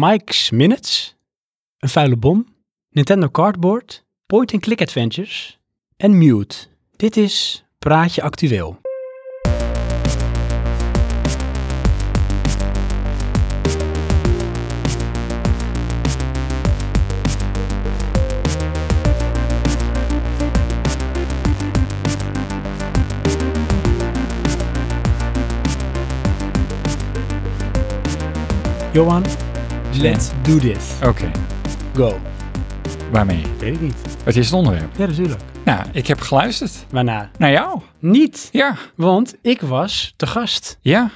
Mike's Minutes, Een Vuile Bom, Nintendo Cardboard, Point and Click Adventures en Mute. Dit is Praatje Actueel. Johan, let's do this. Oké, Go. waarmee? Weet ik niet. Wat is het onderwerp? Ja, natuurlijk. Nou, ik heb geluisterd Waarna? naar jou. Niet, Ja, want ik was te gast ja,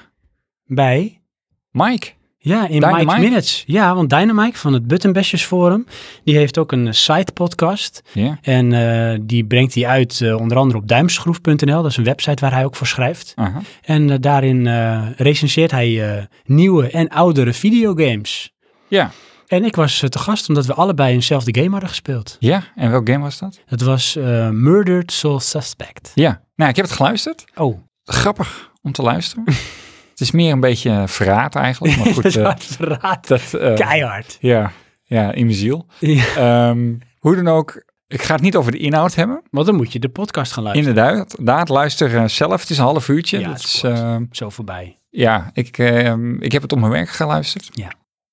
bij Mike. Ja, in Dynamite? Mike's Minutes. Ja, want Dynamite van het Buttonbashers Forum, die heeft ook een eh, side-podcast. Ja, En eh, die brengt die uit eh, onder andere op duimschroef.nl. Dat is een website waar hij ook voor schrijft. aha. En eh, daarin eh recenseert hij eh, nieuwe en oudere videogames. ja, En ik was eh, te gast omdat we allebei eenzelfde game hadden gespeeld. ja. En welk game was dat? Het was eh, Murdered Soul Suspect. Ja, nou, ik heb het geluisterd. Oh, Grappig om te luisteren. het is meer een beetje verraad eigenlijk, maar goed. dat eh, was verraad. dat, eh, Keihard. ja, ja, in mijn ziel. Ja, Ehm, hoe dan ook, ik ga het niet over de inhoud hebben. want dan moet je de podcast gaan luisteren. Inderdaad, daad, luister eh, zelf. Het is een half uurtje. Ja, dat het is is, kort. ehm, Zo voorbij. ja, ik, ehm, ik heb het op mijn werk geluisterd. Ja.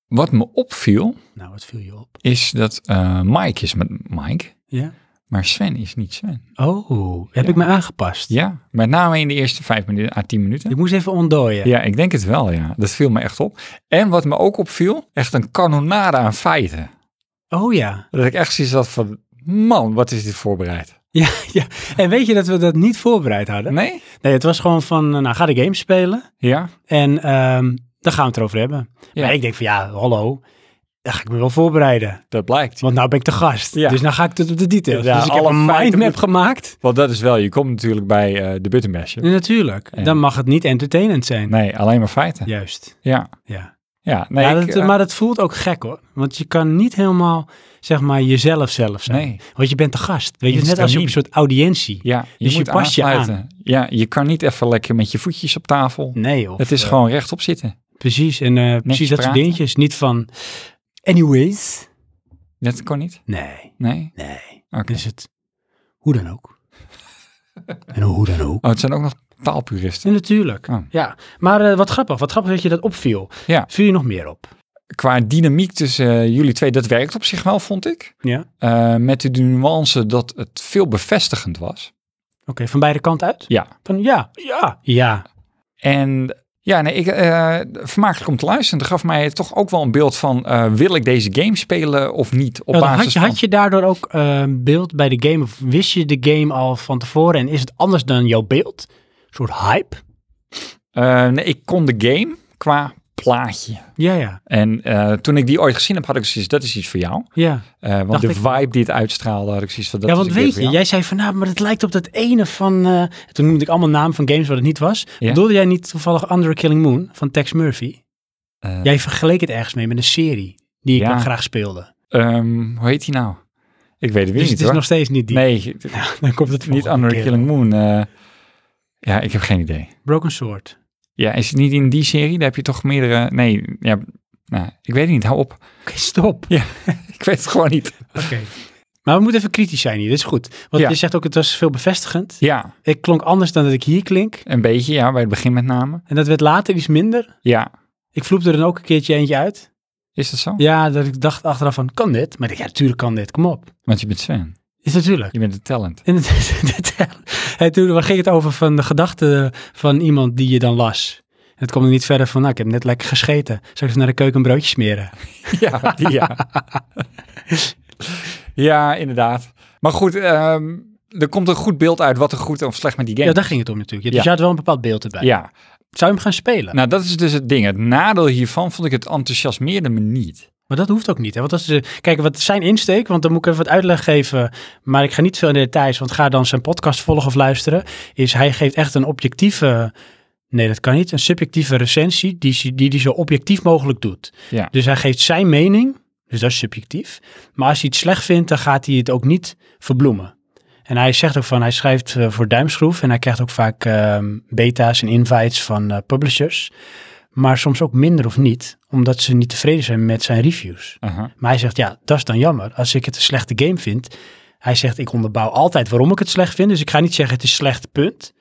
Wat me opviel, Nou, wat viel je op? is dat eh, Mike is met Mike, Ja? maar Sven is niet Sven. Oh, heb Ja. ik me aangepast? Ja, met name in de eerste vijf minuten, à tien minuten. Ik moest even ontdooien. Ja, ik denk het wel, ja. Dat viel me echt op. En wat me ook opviel, echt een kanonade aan feiten. Oh ja. Dat ik echt zoiets had van, man, wat is dit voorbereid? ja. Ja. En weet je dat we dat niet voorbereid hadden? Nee? Nee, het was gewoon van, eh, nou ga de game spelen Ja? en ehm dan gaan we het erover hebben. Ja. Maar ik denk van, ja, hallo, daar ga ik me wel voorbereiden. Dat blijkt. Want nou ben ik de gast, Ja. dus nou ga ik tot op de details. Ja, dus ik heb alle een feiten mindmap moeten- gemaakt. Want dat is wel, je komt natuurlijk bij eh, de Buttonbasher. Ja, natuurlijk, Ja. dan mag het niet entertainend zijn. Nee, alleen maar feiten. Ja. Juist, Ja, ja. nee. Ja, ik, dat- eh, maar dat voelt ook gek hoor. Want je kan niet helemaal, zeg maar, jezelf zelf zijn. nee. Want je bent de gast. Weet je, Je net als je op een stramien. soort audiëntie. Ja, je Dus je moet past je aan. aansluiten. Ja, je kan niet even lekker met je voetjes op tafel. Nee, of, het is eh, gewoon rechtop zitten. Precies, en eh, precies dat soort praten. dingetjes. Niet van, anyways. Dat kon niet? Nee, Nee? nee. Dus- Oké. Dan is het hoe dan ook. en hoe dan ook. Oh, het zijn ook nog taalpuristen. Ja, natuurlijk. Oh. Ja, maar eh, wat grappig. Wat grappig dat je dat opviel. Ja. Viel je nog meer op? Qua dynamiek tussen eh, jullie twee, dat werkt op zich wel, vond ik. Ja. Oké, Eh, met de nuance dat het veel bevestigend was. van beide kanten uit? Ja. Van ja, ja, ja. En ja, nee, ik, eh, vermakelijk om te luisteren. Dat gaf mij toch ook wel een beeld van, eh, wil ik deze game spelen of niet? Op Ja, dan basis had, je, van... had je daardoor ook eh, een beeld bij de game? Of wist je de game al van tevoren? En is het anders dan jouw beeld? Een soort hype? Eh, nee, ik kon de game qua plaatje. Ja, ja, En eh, toen ik die ooit gezien heb, had ik zoiets, dat is iets voor jou. ja. Eh, want Dacht de ik- vibe die het uitstraalde, had ik zoiets van, dat ja, is want een game weet voor je, jou. jij zei van, nou, maar het lijkt op dat ene van... eh, toen noemde ik allemaal namen van games wat het niet was. Ja. Bedoelde jij niet toevallig Under Killing Moon van Tex Murphy? Eh, Jij vergeleek het ergens mee met een serie die ik Ja. dan graag speelde. ehm, hoe heet die nou? Ik weet het weer Dus niet het is hoor. nog steeds niet die. Nee, Dan komt het niet volgende Under keer. Killing Moon. eh, ja, ik heb geen idee. Broken Sword. Ja, is het niet in die serie? Daar heb je toch meerdere... Nee, ja, nou, ik weet het niet. Hou op. Oké, stop. Ik weet het gewoon niet. Oké. Maar we moeten even kritisch zijn hier, dit is goed. Want Ja. je zegt ook, het was veel bevestigend. Ja, Ik klonk anders dan dat ik hier klink. een beetje. Ja, bij het begin met name. En dat werd later iets minder. Ja, Ik vloep er dan ook een keertje eentje uit. is dat zo? Ja, dat ik dacht achteraf van, kan dit? Maar ik dacht, ja, natuurlijk kan dit, kom op. Want je bent Sven. Is natuurlijk. Je bent een talent. En het- het- het- en toen ging het over van de gedachten van iemand die je dan las. En het kwam er niet verder van, nou, ik heb net lekker gescheten. Zal ik even naar de keuken een broodje smeren? Ja, die, ja. ja, inderdaad. Maar goed, ehm, er komt een goed beeld uit wat er goed of slecht met die game Ja, daar ging het om natuurlijk. Ja, Dus Ja. je had wel een bepaald beeld erbij. Ja, Zou je hem gaan spelen? nou dat is dus het ding. Het nadeel hiervan vond ik het enthousiasmeerde me niet. Maar dat hoeft ook niet. Hè? Want als de, kijk, wat zijn insteek, want dan moet ik even wat uitleg geven. Maar ik ga niet veel in de details, want ga dan zijn podcast volgen of luisteren. Is hij geeft echt een objectieve... Nee, dat kan niet. Een subjectieve recensie die hij die, die zo objectief mogelijk doet. Ja. Dus hij geeft zijn mening, dus dat is subjectief. Maar als hij het slecht vindt, dan gaat hij het ook niet verbloemen. En hij zegt ook van, hij schrijft eh, voor Duimschroef en hij krijgt ook vaak ehm, beta's en invites van eh, publishers. maar soms ook minder of niet, omdat ze niet tevreden zijn met zijn reviews. Aha. Maar hij zegt, ja, dat is dan jammer. Als ik het een slechte game vind. Hij zegt, ik onderbouw altijd waarom ik het slecht vind. Dus ik ga niet zeggen, het is slecht, punt.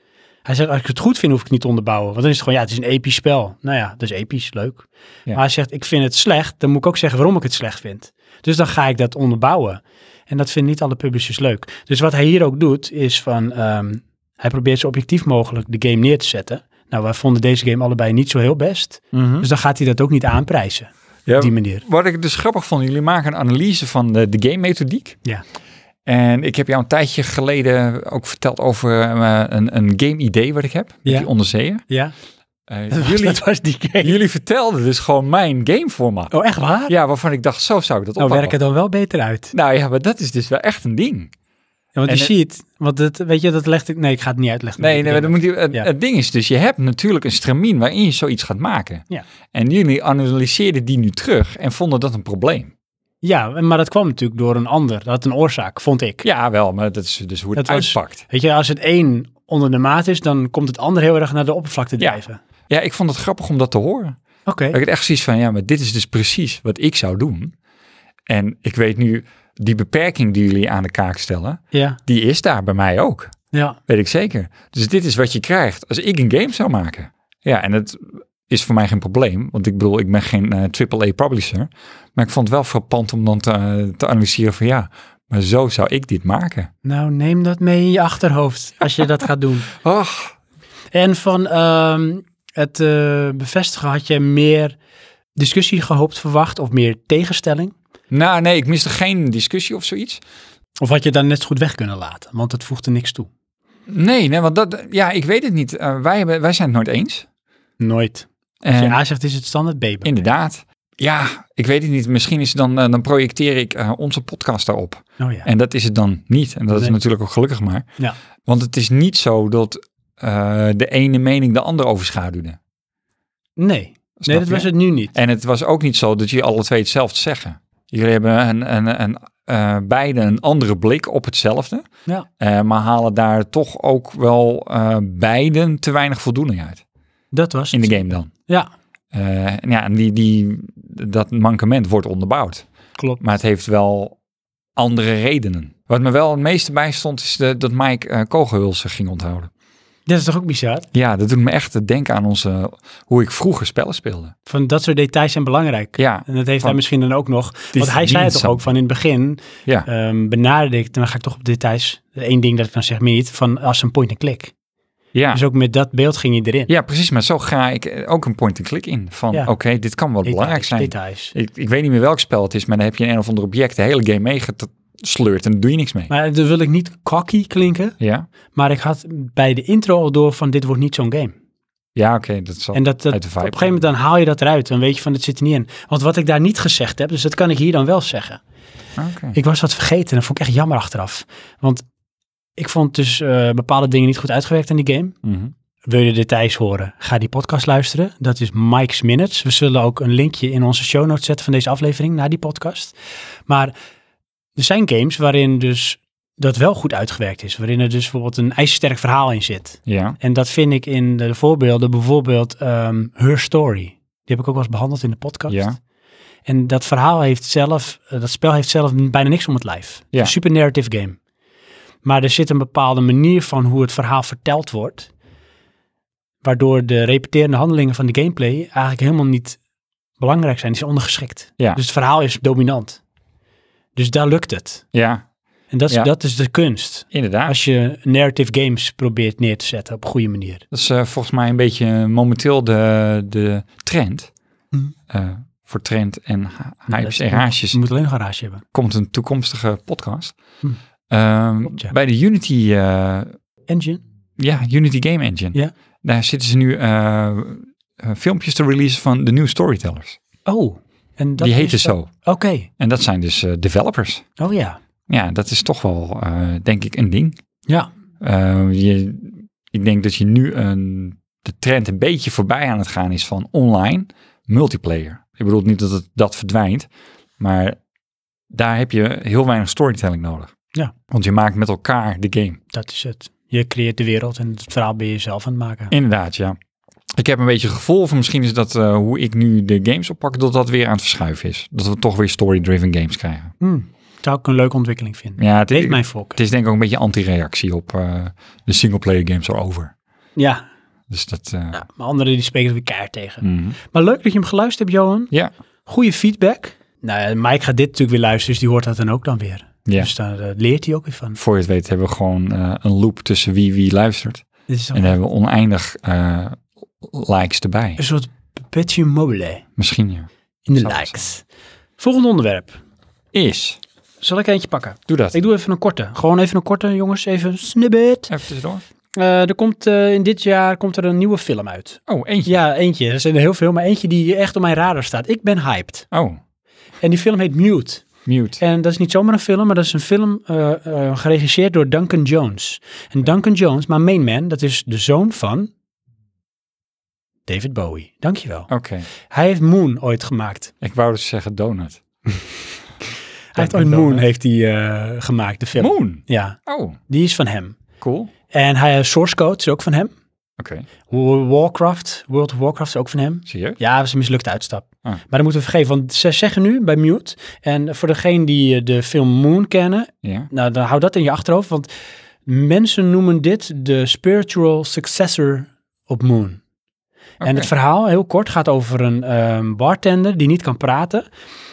Hij zegt, als ik het goed vind, hoef ik het niet te onderbouwen. Want dan is het gewoon, ja, het is een episch spel. Nou ja, dat is episch, leuk. Ja. Maar hij zegt, ik vind het slecht. Dan moet ik ook zeggen waarom ik het slecht vind. Dus dan ga ik dat onderbouwen. En dat vinden niet alle publishers leuk. Dus wat hij hier ook doet, is van... ehm, hij probeert zo objectief mogelijk de game neer te zetten. Nou, wij vonden deze game allebei niet zo heel best. Dus dan gaat hij dat ook niet aanprijzen, Ja, op die manier. Wat ik dus grappig vond, jullie maken een analyse van de, de game methodiek. Ja. En ik heb jou een tijdje geleden ook verteld over eh, een, een game idee wat ik heb. Met Ja. die onderzeeën. Ja, Eh, dat was, jullie, dat was die game. jullie vertelden dus gewoon mijn game voor me. Oh, echt waar? Ja, waarvan ik dacht, zo zou ik dat nou, oppakken. werkt het dan wel beter uit. Nou ja, maar dat is dus wel echt een ding. Ja, want En die het- sheet, want dat, weet je, dat legt ik... Nee, ik ga het niet uitleggen. Nee, nee, maar dan moet je, het, Ja. het ding is dus, je hebt natuurlijk een stramien waarin je zoiets gaat maken. Ja. En jullie analyseerden die nu terug en vonden dat een probleem. Ja, maar dat kwam natuurlijk door een ander. Dat had een oorzaak, vond ik. Ja, wel, maar dat is dus hoe het Dat was- uitpakt. Weet je, als het één onder de maat is, dan komt het ander heel erg naar de oppervlakte Ja. drijven. Ja, ik vond het grappig om dat te horen. Oké. Dat ik het echt zoiets van, ja, maar dit is dus precies wat ik zou doen. En ik weet nu, die beperking die jullie aan de kaak stellen, Ja, die is daar bij mij ook. ja. Weet ik zeker. Dus dit is wat je krijgt als ik een game zou maken. Ja, en het is voor mij geen probleem. Want ik bedoel, ik ben geen eh AAA publisher. Maar ik vond het wel frappant om dan te, eh, te analyseren van ja, maar zo zou ik dit maken. Nou, neem dat mee in je achterhoofd als je dat gaat doen. Ach, En van ehm, het eh, bevestigen had je meer discussie gehoopt verwacht of meer tegenstelling? nou nee, ik miste geen discussie of zoiets. Of had je dan net zo goed weg kunnen laten, want het voegde niks toe? Nee, nee want dat, ja, ik weet het niet. Eh, wij, hebben, wij zijn het nooit eens. Nooit. Als je En A zegt, is het standaard B. bij- inderdaad, ja, ik weet het niet. Misschien is het dan, eh, dan projecteer ik eh, onze podcast daarop. Oh ja. En dat is het dan niet. En dat is Nee. natuurlijk ook gelukkig maar. Ja. Want het is niet zo dat eh, de ene mening de ander overschaduwde. Nee, Snap nee dat je? was het nu niet. En het was ook niet zo dat jullie alle twee hetzelfde zeggen. Jullie hebben een, een, een, eh, beide een andere blik op hetzelfde. Ja. Eh, maar halen daar toch ook wel eh, beiden te weinig voldoening uit. Dat was In het. de game dan. Ja, Eh, en ja, en die, die, dat mankement wordt onderbouwd. klopt. Maar het heeft wel andere redenen. Wat me wel het meeste bijstond is de- dat Mike eh kogelhulsen ging onthouden. Dat is toch ook bizar? Ja, dat doet me echt denken aan onze, hoe ik vroeger spellen speelde. Van dat soort details zijn belangrijk. Ja, En dat heeft Van- hij misschien dan ook nog. Die Want hij zei het verdienen toch ook van in het begin. Ja. ehm benaderde ik, dan ga ik toch op details. Eén ding dat ik dan zeg, meer niet. Van als een point-and-click. ja. Dus ook met dat beeld ging hij erin. ja, precies. Maar zo ga ik eh, ook een point-and-click in. Van Ja. oké, dit kan wel belangrijk Details, zijn. details. Ik, ik weet niet meer welk spel het is, maar dan heb je een of ander object de hele game meegesleurd en daar doe je niks mee. Maar dan wil ik niet cocky klinken. Ja, Maar ik had bij de intro al door van dit wordt niet zo'n game. ja oké, dat zal. En dat, dat, uit de op vibe. een gegeven moment dan haal je dat eruit. Dan weet je van, het zit er niet in. Want wat ik daar niet gezegd heb, dus dat kan ik hier dan wel zeggen. Ah, Oké. Ik was dat vergeten en dat vond ik echt jammer achteraf. Want ik vond dus eh, bepaalde dingen niet goed uitgewerkt in die game. Mhm. Wil je de details horen? Ga die podcast luisteren. Dat is Mike's Minutes. We zullen ook een linkje in onze show notes zetten van deze aflevering naar die podcast. Maar er zijn games waarin dus dat wel goed uitgewerkt is. Waarin er dus bijvoorbeeld een ijzersterk verhaal in zit. Ja, En dat vind ik in de voorbeelden, bijvoorbeeld ehm, Her Story. Die heb ik ook wel eens behandeld in de podcast. Ja. En dat verhaal heeft zelf, eh, dat spel heeft zelf bijna niks om het lijf. Het is Ja. Een super narrative game. Maar er zit een bepaalde manier van hoe het verhaal verteld wordt. Waardoor de repeterende handelingen van de gameplay eigenlijk helemaal niet belangrijk zijn. Die zijn ondergeschikt. Ja. Dus het verhaal is dominant. Dus daar lukt het. ja, En dat is, Ja. dat is de kunst. inderdaad. Als je narrative games probeert neer te zetten op een goede manier. Dat is eh, volgens mij een beetje momenteel de, de trend. Mhm. Eh, voor trend en ha- hypes dat- en raasjes Je moet alleen een garage hebben. komt een toekomstige podcast. Hm. Ehm, Klopt, ja. Bij de Unity, eh, Engine? ja, Unity Game Engine. Ja. Daar zitten ze nu eh, eh, filmpjes te releasen van de nieuwe storytellers. Oh. En dat Die is heten dan- zo. Oké. En dat zijn dus eh, developers. Oh ja. Ja, dat is toch wel, eh, denk ik, een ding. Ja. Eh, je, ik denk dat je nu een, de trend een beetje voorbij aan het gaan is van online multiplayer. Ik bedoel niet dat het, dat verdwijnt, maar daar heb je heel weinig storytelling nodig. Ja. Want je maakt met elkaar de game. Dat is het. Je creëert de wereld en het verhaal ben je zelf aan het maken. Inderdaad, ja. ik heb een beetje het gevoel van misschien is dat eh, hoe ik nu de games oppak, dat dat weer aan het verschuiven is. Dat we toch weer story-driven games krijgen. Hmm. Zou ik een leuke ontwikkeling vinden. Ja, het, Leeft het mijn volk. is denk ik ook een beetje anti-reactie op eh, de single-player games are over. Ja. Hmm. Dus dat... eh, ja, maar anderen die spreken er weer keihard tegen. mhm. Maar leuk dat je hem geluisterd hebt, Johan. Ja, Goede feedback. Nou, ja, Mike gaat dit natuurlijk weer luisteren, dus die hoort dat dan ook dan weer. ja. Dus daar eh, leert hij ook weer van. voor je het weet hebben we gewoon eh, een loop tussen wie wie luistert. Dit is En dan dan hebben we oneindig eh, likes erbij. een soort perpetuum mobile Misschien ja. in de Zou het likes. Volgende onderwerp. Is. Zal ik eentje pakken? Doe dat. Ik doe even een korte. Gewoon even een korte, jongens. Even een snippet. Even tussendoor. Eh, er komt eh, in dit jaar komt er een nieuwe film uit. Oh, eentje. Ja, eentje. Er zijn er heel veel, maar eentje die echt op mijn radar staat. Ik ben hyped. Oh, En die film heet Mute. mute. En dat is niet zomaar een film, maar dat is een film eh, eh, geregisseerd door Duncan Jones. En Duncan Jones, maar main man, dat is de zoon van David Bowie. Dankjewel. Oké. Hij heeft Moon ooit gemaakt. Ik wou dus zeggen donut. Hij heeft ooit Duncan Moon Jones. heeft hij, eh, gemaakt, de film. Moon. Ja, Oh, die is van hem. cool. Oké. En hij heeft Source Code, is ook van hem. Warcraft, World of Warcraft is ook van hem. Zie je? Ja, dat is een mislukte uitstap. Ah. Maar dat moeten we vergeven, want ze zeggen nu bij Mute, en voor degene die eh, de film Moon kennen, Ja. nou, dan hou dat in je achterhoofd, want mensen noemen dit de spiritual successor op Moon. En het Oké. verhaal, heel kort, gaat over een ehm, bartender die niet kan praten.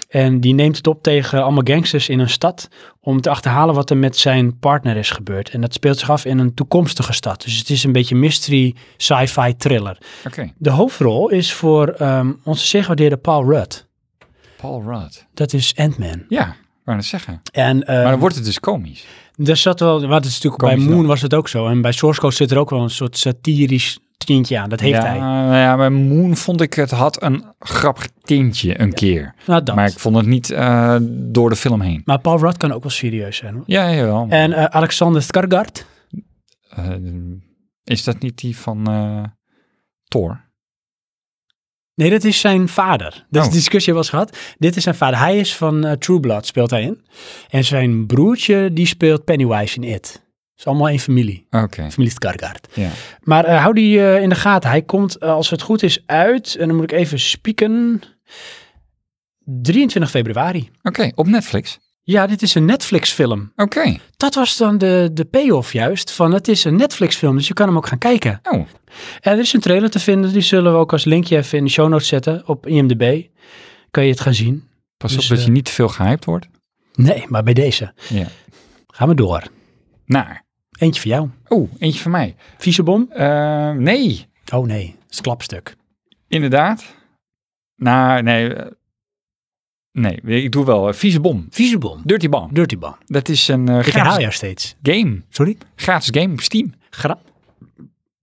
En die neemt het op tegen allemaal gangsters in een stad om te achterhalen wat er met zijn partner is gebeurd. En dat speelt zich af in een toekomstige stad. Dus het is een beetje mystery, sci-fi, thriller. Oké. De hoofdrol is voor ehm, onze zeer gewaardeerde Paul Rudd. Paul Rudd. Dat is Ant-Man. Ja, ik wou het zeggen. En ehm, Maar dan wordt het dus komisch. er zat wel, wat is natuurlijk bij Komisch Moon dan. was het ook zo. En bij Source Code zit er ook wel een soort satirisch tintje aan. Dat heeft ja, hij. nou ja, bij Moon vond ik het had een grappig tintje een keer. Nou, dat. Maar Maar, ik vond het niet eh, door de film heen. Paul Rudd kan ook wel serieus zijn. Hoor. Ja, jawel. En eh, Alexander Skarsgård. Eh, is dat niet die van eh Thor? Nee, dat is zijn vader. Dat is Oh. de discussie was gehad. Dit is zijn vader. Hij is van eh, True Blood, speelt hij in. En zijn broertje, die speelt Pennywise in It. Het is allemaal één familie. Oké, Familie Skarsgård. ja. Maar eh, hou die eh, in de gaten. Hij komt, eh, als het goed is, uit. En dan moet ik even spieken. 23 februari. Oké, op Netflix. Ja, dit is een Netflix-film. Oké. Dat was dan de, de payoff juist. Van het is een Netflix-film, dus je kan hem ook gaan kijken. Oh, En er is een trailer te vinden. Die zullen we ook als linkje even in de show notes zetten op IMDb. Kan je het gaan zien? pas Dus, op dat eh, je niet te veel gehyped wordt. Nee, maar bij deze. Ja. Gaan we door. Naar. Eentje voor jou. Oh, eentje van mij. Vieze bom? Eh, nee, Oh nee, dat is klapstuk. inderdaad. Nou, nee. eh, Nee, ik doe wel. eh, Vieze bom. Vieze bom. Dirty Bomb. Dirty bom. Dat is een eh, Ik herhaal gratis jou steeds. game. Sorry? Gratis game op Steam. Gra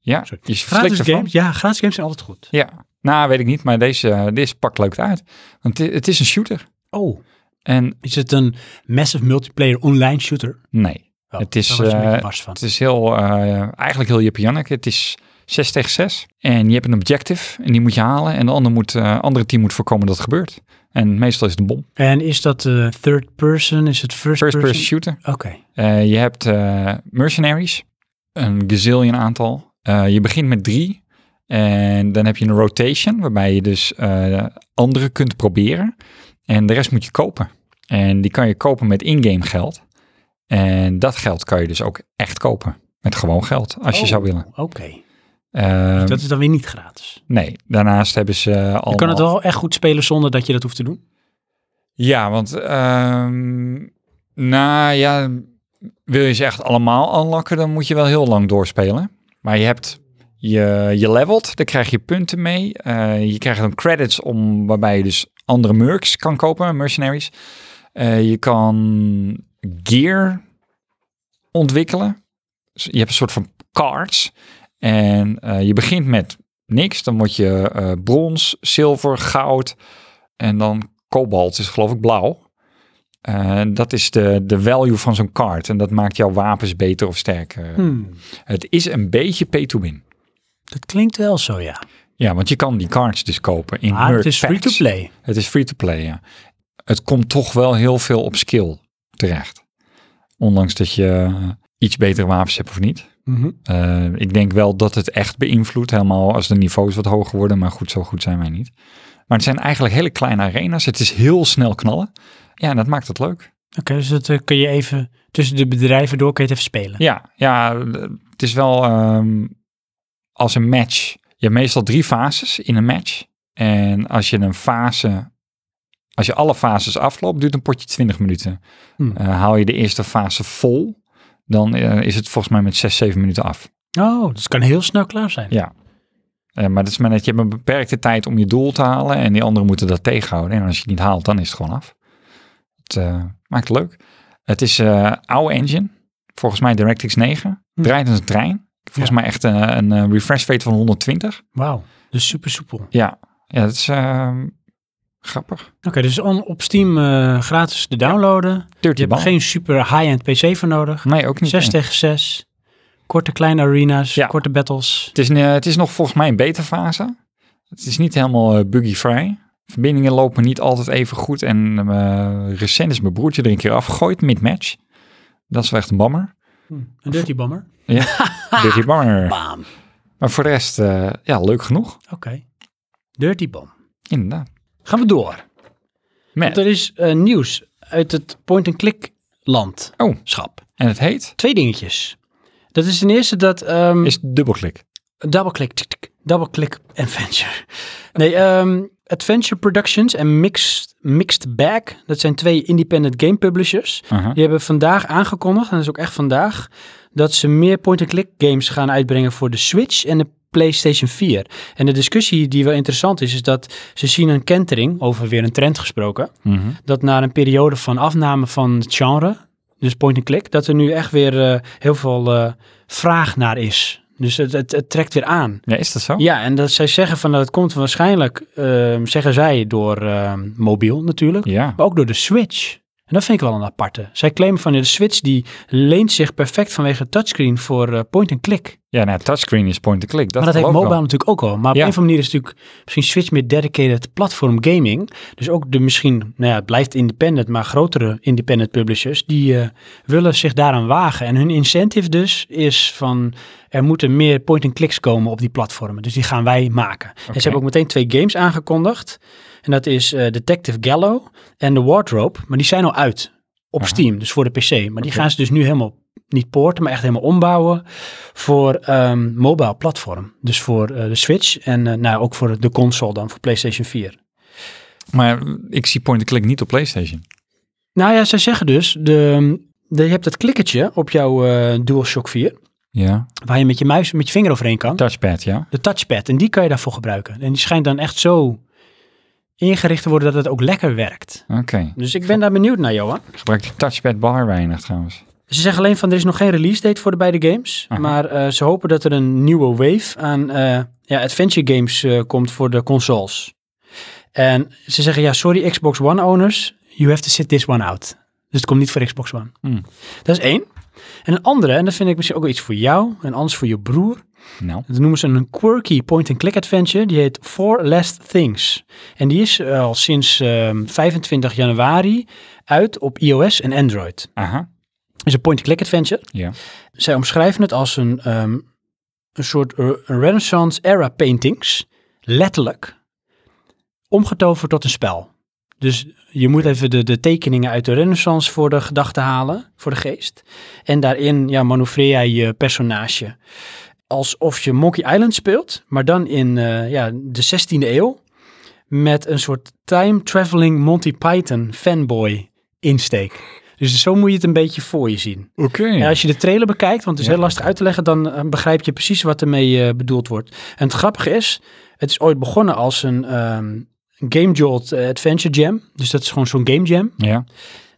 Ja, Sorry. je gratis slikt ervan. games? Ja, gratis games zijn altijd goed. Ja, nou weet ik niet, maar deze, eh, deze pakt leuk uit. Want het het is een shooter. Oh, En is het een massive multiplayer online shooter? nee, Oh, Het is, daar was ik een eh, beetje bars van. het is heel, eh, eigenlijk heel Japanjannelijk. Het is 6 tegen 6. En je hebt een objective en die moet je halen. En de ander moet, eh, andere team moet voorkomen dat het gebeurt. En meestal is het een bom. En is dat eh, third person? Is het first, First person person? shooter. Oké. Eh, je hebt eh, mercenaries, een gazillion aantal. Eh, je begint met drie. En dan heb je een rotation, waarbij je dus eh andere kunt proberen. En de rest moet je kopen. En die kan je kopen met in-game geld. En dat geld kan je dus ook echt kopen. Met gewoon geld, als je Oh, zou willen. Oké. Ehm, Dat is dan weer niet gratis. Nee, daarnaast hebben ze eh, allemaal... Je kan het wel echt goed spelen zonder dat je dat hoeft te doen. Ja, want ehm, nou ja, wil je ze echt allemaal unlocken, dan moet je wel heel lang doorspelen. Maar je hebt je, je levelt, daar krijg je punten mee. Eh, je krijgt dan credits om waarbij je dus andere mercs kan kopen, mercenaries. Eh, je kan gear ontwikkelen. Dus je hebt een soort van cards. En eh, je begint met niks. Dan word je eh, brons, zilver, goud. En dan kobalt is geloof ik blauw. Eh, dat is de, de value van zo'n card. En dat maakt jouw wapens beter of sterker. Hmm. Het is een beetje pay to win. Dat klinkt wel zo, ja. Ja, want je kan die cards dus kopen in Maar merc Ah, het is packs. free to play. Het is free to play, ja. Het komt toch wel heel veel op skill terecht. Ondanks dat je iets eh, betere wapens hebt of niet. Mhm. Eh, ik denk wel dat het echt beïnvloedt, helemaal als de niveaus wat hoger worden, maar goed, zo goed zijn wij niet. Maar het zijn eigenlijk hele kleine arena's. Het is heel snel knallen. Ja, en dat maakt het leuk. Oké, dus dat eh, kun je even tussen de bedrijven door, kun je het even spelen. Ja, ja eh, het is wel ehm, als een match. Je hebt meestal drie fases in een match. En als je een fase, als je alle fases afloopt, duurt een potje 20 minuten. Hmm. Eh, haal je de eerste fase vol, dan eh, is het volgens mij met 6, 7 minuten af. Oh, dus het kan heel snel klaar zijn. Ja. Eh, maar dat is maar net, je hebt een beperkte tijd om je doel te halen en die anderen moeten dat tegenhouden. En als je het niet haalt, dan is het gewoon af. Het eh, maakt het leuk. Het is eh oude engine, volgens mij DirectX 9. Hm. Draait als een trein. Volgens mij echt eh, een eh, refresh rate van 120. Wauw, dus super soepel. Oké, Ja, ja dat is eh, grappig. dus on, op Steam eh, gratis te downloaden. Je 30 hebt bal. geen super high-end PC voor nodig. Nee, ook niet. 6 tegen 6. Korte kleine arena's, Ja. korte battles. Het is, een, eh, het is nog volgens mij een beta fase. Het is niet helemaal eh, buggy-free. Verbindingen lopen niet altijd even goed. En eh, recent is mijn broertje er een keer afgegooid, mid-match. Dat is wel echt een bammer. Een dirty bomber. Biggie bammer. Bam. Maar voor de rest, eh, ja, leuk genoeg. Oké. Dirty bomb. Inderdaad. Gaan we door. Want Met. er is eh, nieuws uit het point-and-click land. Oh. Schap. En het heet? Twee dingetjes. Dat is ten eerste dat... ehm, Is dubbelklik. Double-click. tik, tik, Double-click adventure. Nee, ehm, Adventure Productions en Mixed, Mixed Bag. Dat zijn twee independent game publishers. Aha. Die hebben vandaag aangekondigd, en dat is ook echt vandaag, dat ze meer point-and-click games gaan uitbrengen voor de Switch en de PlayStation 4. En de discussie die wel interessant is, is dat ze zien een kentering, over weer een trend gesproken, Mhm. dat na een periode van afname van het genre, dus point-and-click, dat er nu echt weer eh, heel veel eh, vraag naar is. Dus het, het, het trekt weer aan. Ja, is dat zo? Ja, en dat zij zeggen van nou, dat het komt waarschijnlijk, ehm, zeggen zij, door ehm, mobiel natuurlijk. Ja. Maar ook door de Switch. En dat vind ik wel een aparte. Zij claimen van de Switch die leent zich perfect vanwege het touchscreen voor eh, point and click. Ja, nou, touchscreen is point-and-click. Dat maar dat heeft geloof ik mobile wel. natuurlijk ook al. Maar op Ja. een of andere manier is het natuurlijk misschien Switch meer dedicated platform gaming. Dus ook de misschien, nou ja, het blijft independent, maar grotere independent publishers, die eh, willen zich daaraan wagen. En hun incentive dus is van, er moeten meer point and clicks komen op die platformen. Dus die gaan wij maken. En Oké. ze hebben ook meteen twee games aangekondigd. En dat is eh, Detective Gallo en The Wardrobe. Maar die zijn al uit op Aha. Steam, dus voor de PC. Maar die Oké. gaan ze dus nu helemaal niet poorten, maar echt helemaal ombouwen voor ehm, mobile platform. Dus voor eh, de Switch en eh, nou, ook voor de console dan, voor PlayStation 4. Maar eh, ik zie point-and-click niet op PlayStation. Nou ja, zij zeggen dus, de, de, je hebt dat klikkertje op jouw eh, DualShock 4, Ja. waar je met je muis, met je vinger overheen kan. Touchpad, ja. De touchpad, en die kan je daarvoor gebruiken. En die schijnt dan echt zo ingericht te worden dat het ook lekker werkt. Oké. Dus ik ben daar benieuwd naar, Johan. Gebruik die touchpad bar weinig trouwens. Ze zeggen alleen van er is nog geen release date voor de beide games. Aha. Maar eh, ze hopen dat er een nieuwe wave aan eh, ja, adventure games eh, komt voor de consoles. En ze zeggen ja, sorry Xbox One owners, you have to sit this one out. Dus het komt niet voor Xbox One. Hmm. Dat is één. En een andere, en dat vind ik misschien ook wel iets voor jou en anders voor je broer. Nou. Dat noemen ze een quirky point-and-click adventure. Die heet Four Last Things. En die is eh, al sinds ehm, 25 januari uit op iOS en Android Aha. is een point-and-click adventure. Ja. Zij omschrijven het als een, ehm, een soort re- renaissance-era paintings. Letterlijk. Omgetoverd tot een spel. Dus je moet even de, de tekeningen uit de renaissance voor de gedachte halen, voor de geest. En daarin ja, manoeuvreer jij je personage. Alsof je Monkey Island speelt, maar dan in eh, ja, de 16e eeuw. Met een soort time-traveling Monty Python fanboy insteek. Dus zo moet je het een beetje voor je zien. Oké. En als je de trailer bekijkt, want het is Ja. heel lastig uit te leggen, dan eh, begrijp je precies wat ermee eh, bedoeld wordt. En het grappige is, het is ooit begonnen als een ehm, Game Jolt eh, Adventure Jam. Dus dat is gewoon zo'n game jam. Ja.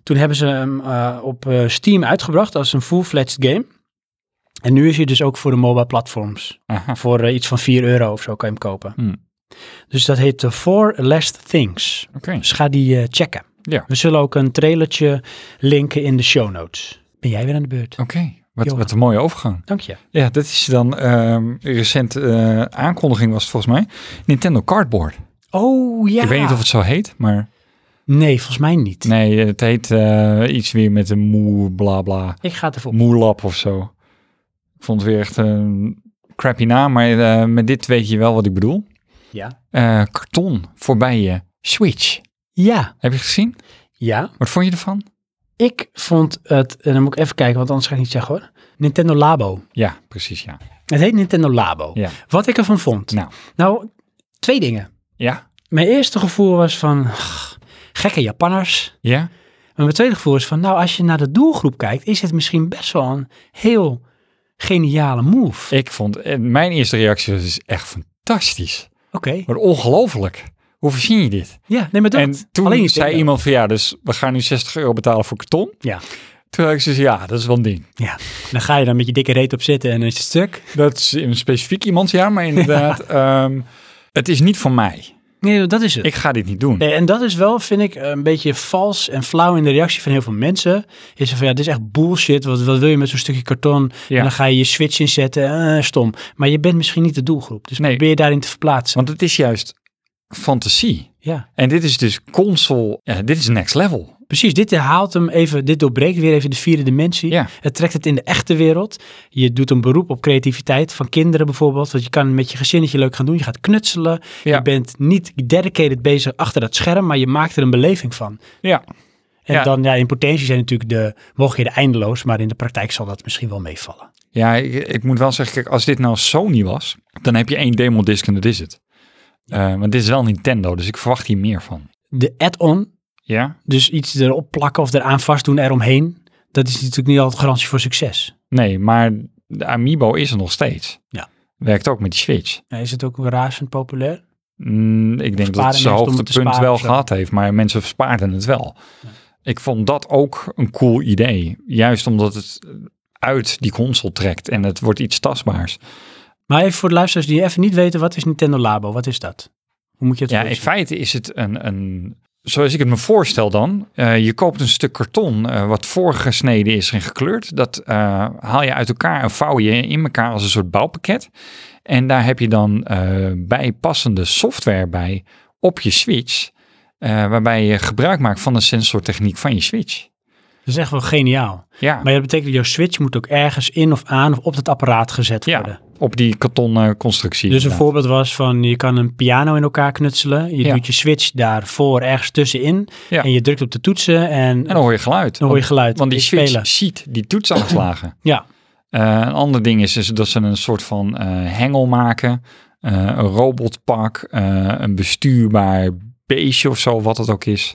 Toen hebben ze hem eh, op eh, Steam uitgebracht als een full-fledged game. En nu is hij dus ook voor de mobile platforms. Aha. Voor eh, iets van 4 euro of zo kan je hem kopen. Hmm. Dus dat heet The Four Last Things. Oké. Dus ga die eh, checken. Ja. We zullen ook een trailertje linken in de show notes. Ben jij weer aan de beurt? Oké, wat, Johan. wat een mooie overgang. Dank je. Ja, dat is dan ehm recent eh, aankondiging was het volgens mij. Nintendo Cardboard. Oh ja. Ik weet niet of het zo heet, maar Nee, volgens mij niet. nee, het heet eh, iets weer met een moe bla bla. Ik ga het even op. Moelap of zo. Ik vond het weer echt een crappy naam, maar eh, met dit weet je wel wat ik bedoel. Ja. Eh, karton voorbij je Switch. Ja. Heb je het gezien? Ja. Wat vond je ervan? Ik vond het, en dan moet ik even kijken, want anders ga ik niet zeggen hoor. Nintendo Labo. Ja, precies ja. Het heet Nintendo Labo. Ja. Wat ik ervan vond. Nou. nou, twee dingen. Ja? Mijn eerste gevoel was van, ach, gekke Japanners. Ja? Maar mijn tweede gevoel is van, nou, als je naar de doelgroep kijkt, is het misschien best wel een heel geniale move. Ik vond, eh, mijn eerste reactie was dus echt fantastisch. Oké, Wat ongelooflijk. Hoe verzin je dit? ja, nee, maar dat. En toen Alleen je zei tenen. iemand van ja, dus we gaan nu 60 euro betalen voor karton. Ja. Toen had ik zoiets, ja, dat is wel een ding. Ja, dan ga je dan met je dikke reet op zitten en dan is het stuk. Dat is een specifiek iemand, ja, maar inderdaad, ehm, het is niet voor mij. Nee, dat is het. Ik ga dit niet doen. Nee, en dat is wel, vind ik, een beetje vals en flauw in de reactie van heel veel mensen. Is van, ja, dit is echt bullshit. Wat, wat wil je met zo'n stukje karton? Ja. En dan ga je je switch inzetten. Eh, stom. Maar je bent misschien niet de doelgroep. Dus Nee. probeer je daarin te verplaatsen. Want het is juist fantasie. Ja, En dit is dus console, ja, dit is next level. precies. Dit haalt hem even, dit doorbreekt weer even de vierde dimensie. Ja. Het trekt het in de echte wereld. Je doet een beroep op creativiteit van kinderen bijvoorbeeld. Want je kan met je gezinnetje leuk gaan doen. Je gaat knutselen. Ja. Je bent niet dedicated bezig achter dat scherm, maar je maakt er een beleving van. Ja. En Ja. dan, ja, in potentie zijn natuurlijk de mogelijkheden eindeloos, maar in de praktijk zal dat misschien wel meevallen. Ja, ik, ik moet wel zeggen, kijk, als dit nou Sony was, dan heb je één demo disc en dat is het. Eh, want dit is wel Nintendo, dus ik verwacht hier meer van. De add-on, Ja? dus iets erop plakken of eraan vastdoen eromheen, dat is natuurlijk niet altijd garantie voor succes. Nee, maar de Amiibo is er nog steeds. Ja. Werkt ook met die Switch. Ja, Is het ook razend populair? Mm, ik denk dat Sparen het zijn mensen om het te hoogtepunt sparen wel of zo. gehad heeft, maar mensen spaarden het wel. Ik vond dat ook een cool idee. Juist omdat het uit die console trekt en het wordt iets tastbaars. Maar even voor de luisteraars die even niet weten, wat is Nintendo Labo? Wat is dat? Hoe moet je het Ja, in voorstellen? feite is het een, een zoals ik het me voorstel dan, eh, je koopt een stuk karton eh, wat voorgesneden is en gekleurd. Dat eh, haal je uit elkaar en vouw je in elkaar als een soort bouwpakket. En daar heb je dan eh, bijpassende software bij op je switch. eh, waarbij je gebruik maakt van de sensortechniek van je switch. Dat is echt wel geniaal. Ja, Maar dat betekent dat jouw switch moet ook ergens in of aan of op dat apparaat gezet worden. ja op die kartonnen Dus constructie. een inderdaad. voorbeeld was van je kan een piano in elkaar knutselen. Je Ja. doet je switch daarvoor ergens tussenin. Ja. En je drukt op de toetsen en, En dan hoor je geluid. dan hoor je geluid. Want die Je switch spelen. ziet die toetsaanslagen. Ja, Eh, een ander ding is, is dat ze een soort van eh, hengel maken, eh, een robotpak, eh, een bestuurbaar beestje of zo, wat het ook is.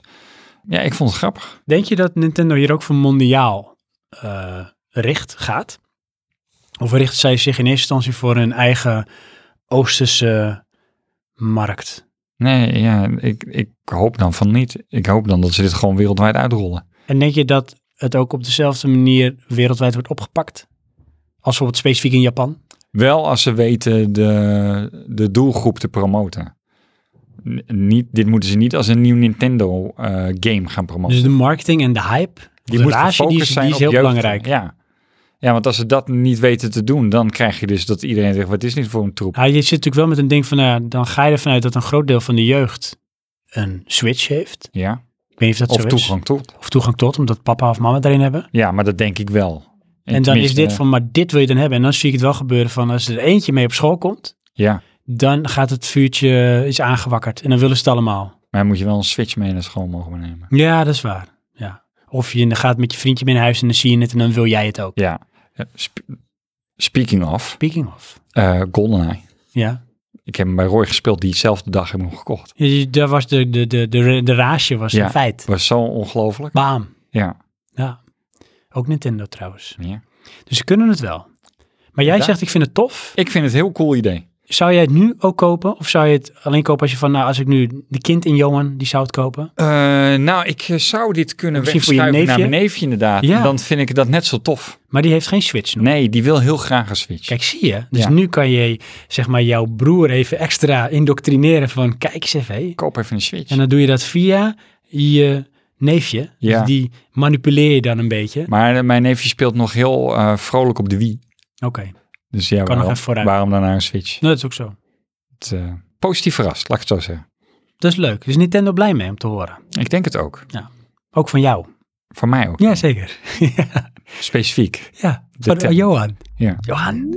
Ja, ik vond het grappig. denk je dat Nintendo hier ook voor mondiaal eh, richt gaat? Of richt zij zich in eerste instantie voor hun eigen Oosterse markt? Nee, ja, ik, ik hoop dan van niet. Ik hoop dan dat ze dit gewoon wereldwijd uitrollen. En denk je dat het ook op dezelfde manier wereldwijd wordt opgepakt? Als bijvoorbeeld specifiek in Japan? Wel als ze weten de, de doelgroep te promoten. N- niet, dit moeten ze niet als een nieuw Nintendo eh, game gaan promoten. Dus de marketing en de hype, Die de moet relatie, die gefocust is, zijn die is op heel jeugd. belangrijk. Ja. ja, want als ze dat niet weten te doen, dan krijg je dus dat iedereen zegt, wat is dit voor een troep? Ja, je zit natuurlijk wel met een ding van, nou ja, dan ga je ervan uit dat een groot deel van de jeugd een switch heeft. Ja, Ik weet niet of dat of zo toegang tot. is. Of toegang tot, omdat papa of mama daarin hebben. Ja, maar dat denk ik wel. En dan is tenminste, dit van, maar dit wil je dan hebben. En dan zie ik het wel gebeuren van, als er eentje mee op school komt, Ja, dan gaat het vuurtje eh, is aangewakkerd. En dan willen ze het allemaal. maar dan moet je wel een Switch mee naar school mogen nemen. Ja, dat is waar. Ja. Of je gaat met je vriendje mee naar huis en dan zie je het en dan wil jij het ook. Ja. Ja, sp- Speaking of, Speaking of. eh, GoldenEye. Ja. Ik heb hem bij Roy gespeeld, diezelfde dag heb ik hem gekocht. Je- je- Daar was de, de, de, de, de raasje was Ja. een feit. was zo ongelooflijk. Bam. Ja. Ja. Ook Nintendo trouwens. ja. Dus ze kunnen het wel. Maar jij Ja. zegt, ik vind het tof. Ik vind het een heel cool idee. Zou jij het nu ook kopen? Of zou je het alleen kopen als je van, nou, als ik nu de kind in Johan, die zou het kopen? Eh, nou, ik eh, zou dit kunnen Misschien voor je wegschuiven naar neefje? mijn neefje inderdaad. Ja. Dan vind ik dat net zo tof. Maar die heeft geen Switch nog. Nee, die wil heel graag een Switch. Kijk, zie je? Dus Ja. nu kan je, zeg maar, jouw broer even extra indoctrineren van, kijk eens even, hé. koop even een Switch. En dan doe je dat via je neefje. Ja. Dus die manipuleer je dan een beetje. Maar eh, mijn neefje speelt nog heel eh, vrolijk op de Wii. Oké, Dus ja, nog waarom, even vooruit. waarom dan naar een Switch? nou, dat is ook zo. Het, eh, positief verrast, laat ik het zo zeggen. Dat is leuk. Dus Nintendo blij mee om te horen. Ik denk het ook. Ook van jou. Voor mij ook. Jazeker. Specifiek. ja, De van tel. Johan. Ja. Johan.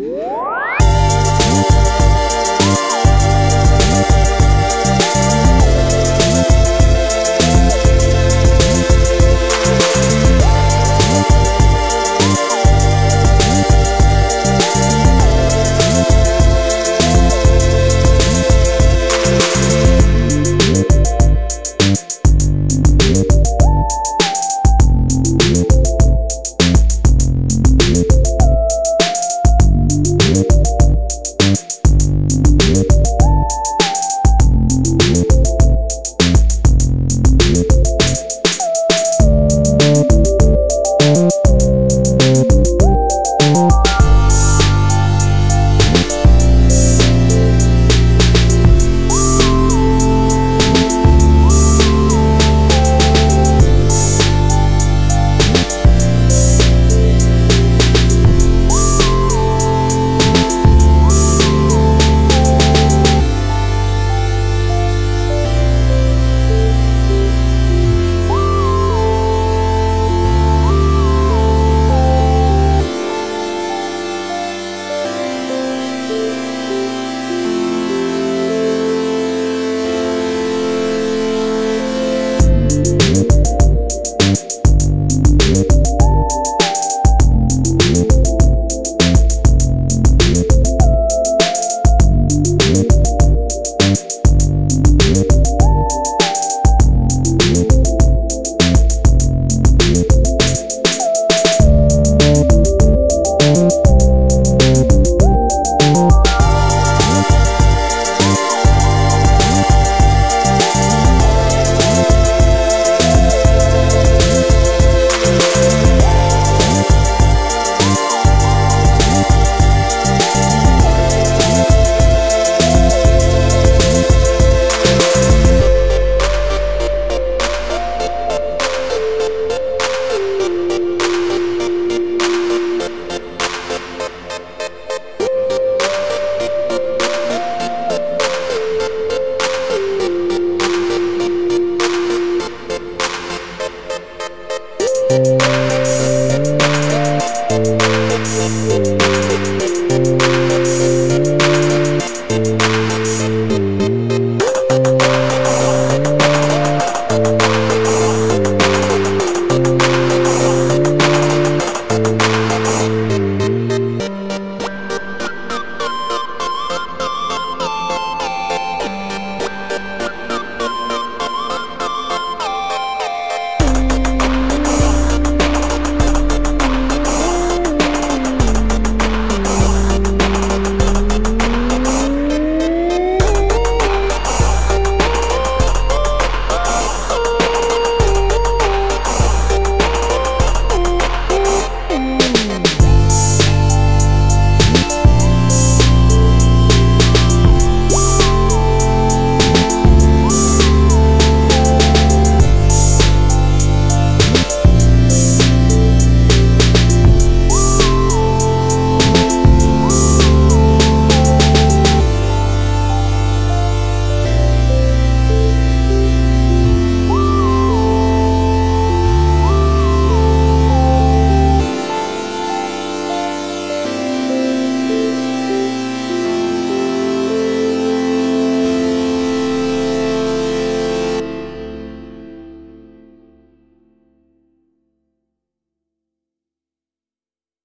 Thank you.